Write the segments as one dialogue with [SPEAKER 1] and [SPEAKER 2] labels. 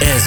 [SPEAKER 1] Ez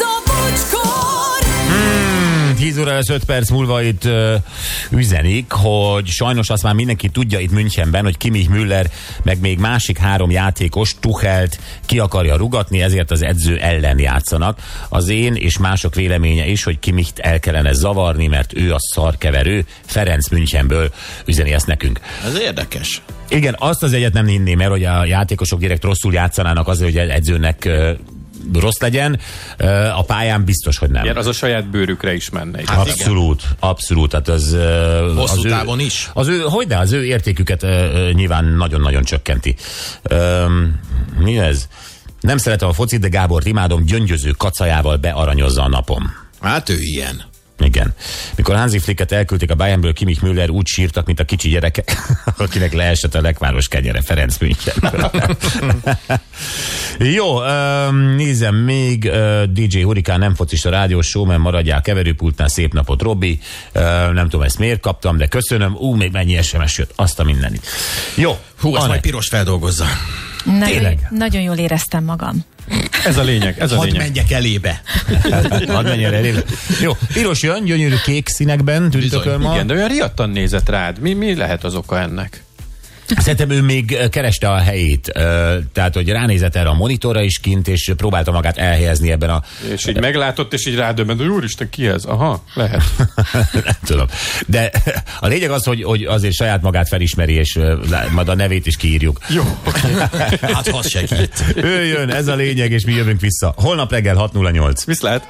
[SPEAKER 2] a bocskor!
[SPEAKER 3] 10 óra lesz 5 perc múlva itt ö, üzenik, hogy sajnos azt már mindenki tudja itt Münchenben, hogy Kimi Müller meg még másik három játékos Tuchelt ki akarja rugatni, ezért az edző ellen játszanak. Az én és mások véleménye is, hogy Kimicht el kellene zavarni, mert ő a szarkeverő. Ferenc Münchenből üzeni ezt nekünk.
[SPEAKER 4] Ez érdekes.
[SPEAKER 3] Igen, azt az egyet nem hinném el, hogy a játékosok direkt rosszul játszanának azért, hogy egy edzőnek ö, rossz legyen. Ö, A pályán biztos, hogy nem.
[SPEAKER 5] Igen, az a saját bőrükre is menne.
[SPEAKER 3] Hát abszolút, igen. abszolút. Tehát az, ö,
[SPEAKER 4] Hosszú
[SPEAKER 3] az
[SPEAKER 4] távon
[SPEAKER 3] ő,
[SPEAKER 4] is.
[SPEAKER 3] Az ő, hogy ne, az ő értéküket ö, ö, nyilván nagyon-nagyon csökkenti. Ö, mi ez? Nem szeretem a focit, de Gábor imádom, gyöngyöző kacajával bearanyozza a napom.
[SPEAKER 4] Hát ő ilyen.
[SPEAKER 3] Igen. Mikor Hansi Flicket elküldték a Bayernből, Kimich Müller úgy sírtak, mint a kicsi gyerekek, akinek leesett a lekváros kenyere Ferenc Münchenből. Jó, öm, nézem még, ö, DJ Hurikán nem focista rádiós show, mert maradjál keverőpultnál, szép napot Robi, Öm, nem tudom ezt miért kaptam, de köszönöm, ú, még mennyi SMS jött, azt a mindenit. Jó,
[SPEAKER 4] Hú, ezt
[SPEAKER 3] Anett,
[SPEAKER 4] majd piros feldolgozza.
[SPEAKER 3] Tényleg?
[SPEAKER 6] Nagyon, nagyon jól éreztem magam.
[SPEAKER 5] Ez a lényeg, ez a
[SPEAKER 4] Hadd
[SPEAKER 5] lényeg.
[SPEAKER 4] menjek elébe.
[SPEAKER 3] hadd menjen el, élve. Jó, piros jön, gyönyörű kék színekben, tündököl ma.
[SPEAKER 5] Igen, de olyan riadtan nézett rád. Mi, mi lehet az oka ennek?
[SPEAKER 3] Szerintem ő még ö, kereste a helyét, ö, tehát hogy ránézett erre a monitorra is kint, és próbálta magát elhelyezni ebben a...
[SPEAKER 5] És így meglátott, és így rádöbbent, hogy úristen, ki ez? Aha, lehet.
[SPEAKER 3] nem tudom. De a lényeg az, hogy, hogy azért saját magát felismeri, és ö, lá- majd a nevét is kiírjuk.
[SPEAKER 5] Jó.
[SPEAKER 4] Hát, ha segít.
[SPEAKER 3] Ő jön, ez a lényeg, és mi jövünk vissza. Holnap reggel 6.08.
[SPEAKER 5] Viszlát.